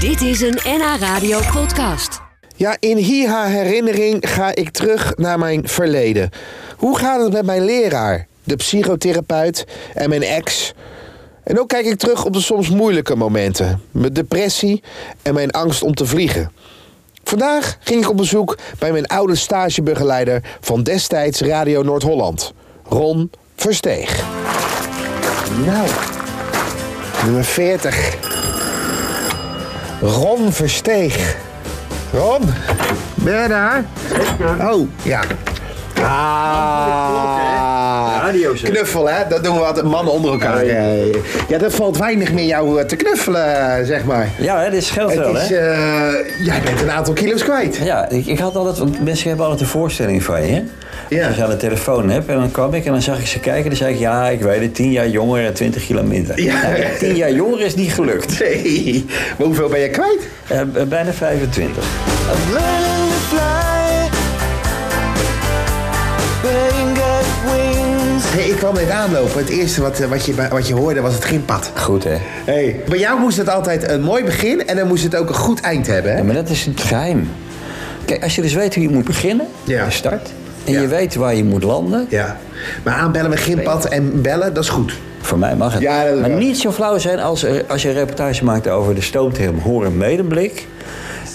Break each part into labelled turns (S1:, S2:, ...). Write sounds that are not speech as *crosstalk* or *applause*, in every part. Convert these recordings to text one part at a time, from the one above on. S1: Dit is een NH Radio podcast.
S2: Ja, in HIHA herinnering ga ik terug naar mijn verleden. Hoe gaat het met mijn leraar, de psychotherapeut en mijn ex? En ook kijk ik terug op de soms moeilijke momenten. Mijn depressie en mijn angst om te vliegen. Vandaag ging ik op bezoek bij mijn oude stagebegeleider van destijds Radio Noord-Holland, Ron Versteeg. Nou, nummer 40. Ron Versteeg. Ron, ben jij daar? Oh, ja. Ah,
S3: Radio, zeg. Ah,
S2: knuffel hè, dat doen we altijd mannen onder elkaar.
S3: Ja,
S2: Ja, er valt weinig meer jou eh, te knuffelen, zeg maar.
S3: Ja, hè, dit scheelt wel,
S2: Het is,
S3: hè?
S2: eh, jij bent een aantal kilo's kwijt.
S3: Ja, ik, ik had altijd, want mensen hebben altijd een voorstelling van je.
S2: Ja.
S3: Als je aan de telefoon hebt en dan kwam ik en dan zag ik ze kijken. Dan zei ik, ja, ik weet het, tien jaar jonger en 20 kilo minder.
S2: Ja.
S3: Nou, ja, tien jaar jonger is niet
S2: *laughs*
S3: gelukt.
S2: Nee, maar hoeveel ben je kwijt?
S3: Eh, eh, bijna 25.
S2: Hey, ik kwam net aanlopen. Het eerste wat, eh, wat, je, bij- wat je hoorde was het gympad.
S3: Goed, hè?
S2: Hey. Bij jou moest het altijd een mooi begin en dan moest het ook een goed eind hebben.
S3: Ja,
S2: Hè?
S3: maar dat is het geheim. Kijk, als je dus weet hoe je moet beginnen,
S2: Ja.
S3: de start, en
S2: Ja.
S3: je weet waar je moet landen,
S2: Ja. Maar aanbellen met gympad en bellen, dat is goed.
S3: Voor mij mag het.
S2: Ja, dat is
S3: maar
S2: wel.
S3: niet zo flauw zijn als, er- als je een reportage maakt over de stoomterm Hoor en Medemblik.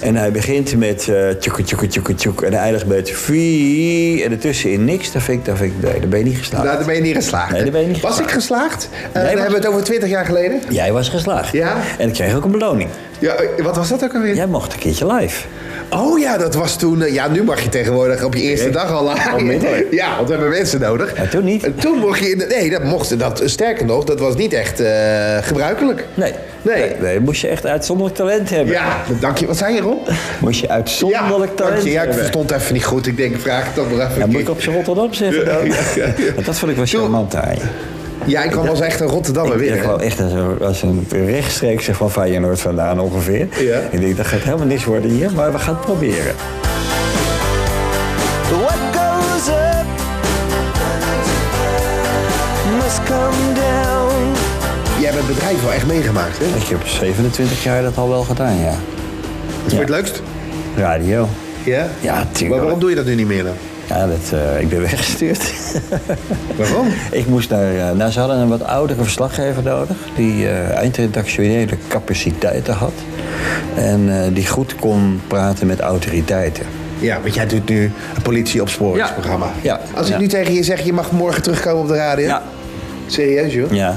S3: En hij begint met eh tjoeke, tjoeke, tjoeke, tjoeke. En hij eindigt met vie. En ertussenin niks. Dan vind ik, dan vind ik, nee, dan ben je niet geslaagd.
S2: Nou, daar ben je niet geslaagd.
S3: Nee, daar ben je niet
S2: was ik geslaagd? Eh, dan
S3: was-
S2: hebben we het over 20 jaar geleden.
S3: Jij was geslaagd.
S2: Ja.
S3: En ik kreeg ook een beloning.
S2: Ja, eh, wat was dat ook alweer?
S3: Jij mocht een keertje live.
S2: Oh ja, dat was toen. eh, Ja, nu mag je tegenwoordig op je eerste
S3: Ja.
S2: dag al
S3: Onmiddellijk.
S2: *laughs* Ja, want we hebben mensen nodig.
S3: Ja, toen niet.
S2: En toen mocht je. in de- Nee, dat mocht. Dat, sterker nog, dat was niet echt eh, gebruikelijk.
S3: Nee. Eh,
S2: Nee.
S3: nee. Moest je echt uitzonderlijk talent hebben.
S2: Ja, dank je. Wat zei je, Ron?
S3: Moest je
S2: dank
S3: uitzonderlijk talent
S2: je. Ja, ik
S3: hebben.
S2: verstond even niet goed. Ik denk, ik vraag het dan maar even.
S3: Ja,
S2: een
S3: moet ik
S2: keer.
S3: op z'n Rotterdam zeggen
S2: Ja,
S3: dan?
S2: ja, ja, ja.
S3: Want Dat vond ik wel charmant aan je.
S2: *laughs* Ja, ik kwam als echt een Rotterdammer
S3: Ik
S2: binnen.
S3: geloof echt als een, als een rechtstreekse van Feyenoord vandaan ongeveer.
S2: Ja.
S3: Ik denk, dat gaat helemaal niks worden hier, maar we gaan het proberen.
S4: What goes up must come down.
S2: Jij hebt het bedrijf wel echt meegemaakt, hè?
S3: Ik heb 27 jaar dat al wel gedaan, ja.
S2: Dat is voor het leukst.
S3: Radio.
S2: Ja?
S3: Ja,
S2: Maar
S3: tuurlijk.
S2: waarom doe je dat nu niet meer dan?
S3: Ja, dat, eh, ik ben weggestuurd. *laughs*
S2: Waarom?
S3: ik moest naar... eh, nou, ze hadden een wat oudere verslaggever nodig... die eh, eindredactionele capaciteiten had. En eh, die goed kon praten met autoriteiten.
S2: Ja, want jij doet nu een politie-opsporingsprogramma.
S3: Ja.
S2: Als ik
S3: Ja.
S2: nu tegen je zeg, je mag morgen terugkomen op de radio.
S3: Ja.
S2: Serieus, joh?
S3: Ja.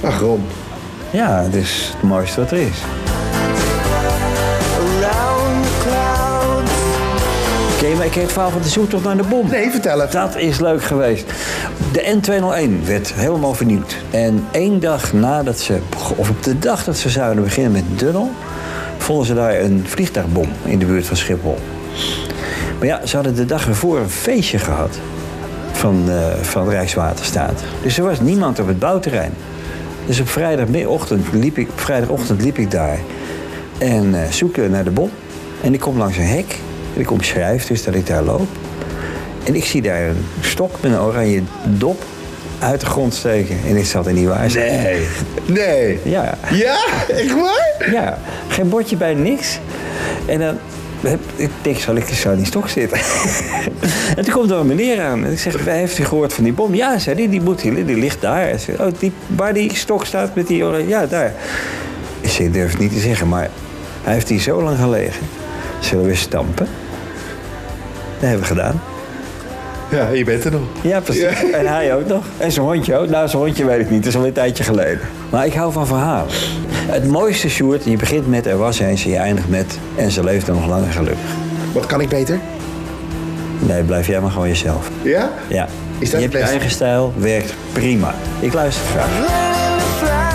S2: Ach, Ron.
S3: Ja, het is het mooiste wat er is.
S4: Around the clouds.
S3: Oké, maar ik heb het verhaal van de zoektocht naar de bom.
S2: Nee, vertel het.
S3: Dat is leuk geweest. De N201 werd helemaal vernieuwd. En één dag nadat ze, of op de dag dat ze zouden beginnen met de tunnel, vonden ze daar een vliegtuigbom in de buurt van Schiphol. Maar ja, ze hadden de dag ervoor een feestje gehad van, eh, van Rijkswaterstaat. Dus er was niemand op het bouwterrein. Dus op vrijdagochtend liep ik, vrijdagochtend liep ik daar en eh zoeken naar de bom. En ik kom langs een hek. En ik omschrijf dus dat ik daar loop. En ik zie daar een stok met een oranje dop uit de grond steken. En ik zat er niet waar.
S2: Nee. Nee.
S3: Ja,
S2: Ja? Echt waar?
S3: ja. Geen bordje bij, niks. En dan heb ik denk, zal ik zo in die stok zitten? *laughs* en toen komt er een meneer aan. En ik zeg, "Wij- heeft u gehoord van die bom? Ja, zei hij, die, moet, hier- die ligt daar. Hij zei, oh, die, waar die stok staat met die oranje, ja, daar. Ik zeg, ik durf het niet te zeggen, maar hij heeft hier zo lang gelegen. Zullen we stampen? Dat hebben we gedaan.
S2: Ja, je bent er nog.
S3: Ja, precies. En hij ook nog. En zijn hondje ook. Nou, zijn hondje weet ik niet. Dat is alweer een tijdje geleden. Maar ik hou van verhalen. Het mooiste, Sjoerd, je begint met er was eens en je eindigt met en ze leefde nog lang en gelukkig.
S2: Wat kan ik beter?
S3: Nee, blijf jij maar gewoon jezelf.
S2: Ja?
S3: Ja.
S2: Is dat
S3: je
S2: het
S3: hebt je
S2: beste?
S3: eigen stijl, werkt prima. Ik luister graag.
S4: Let it fly.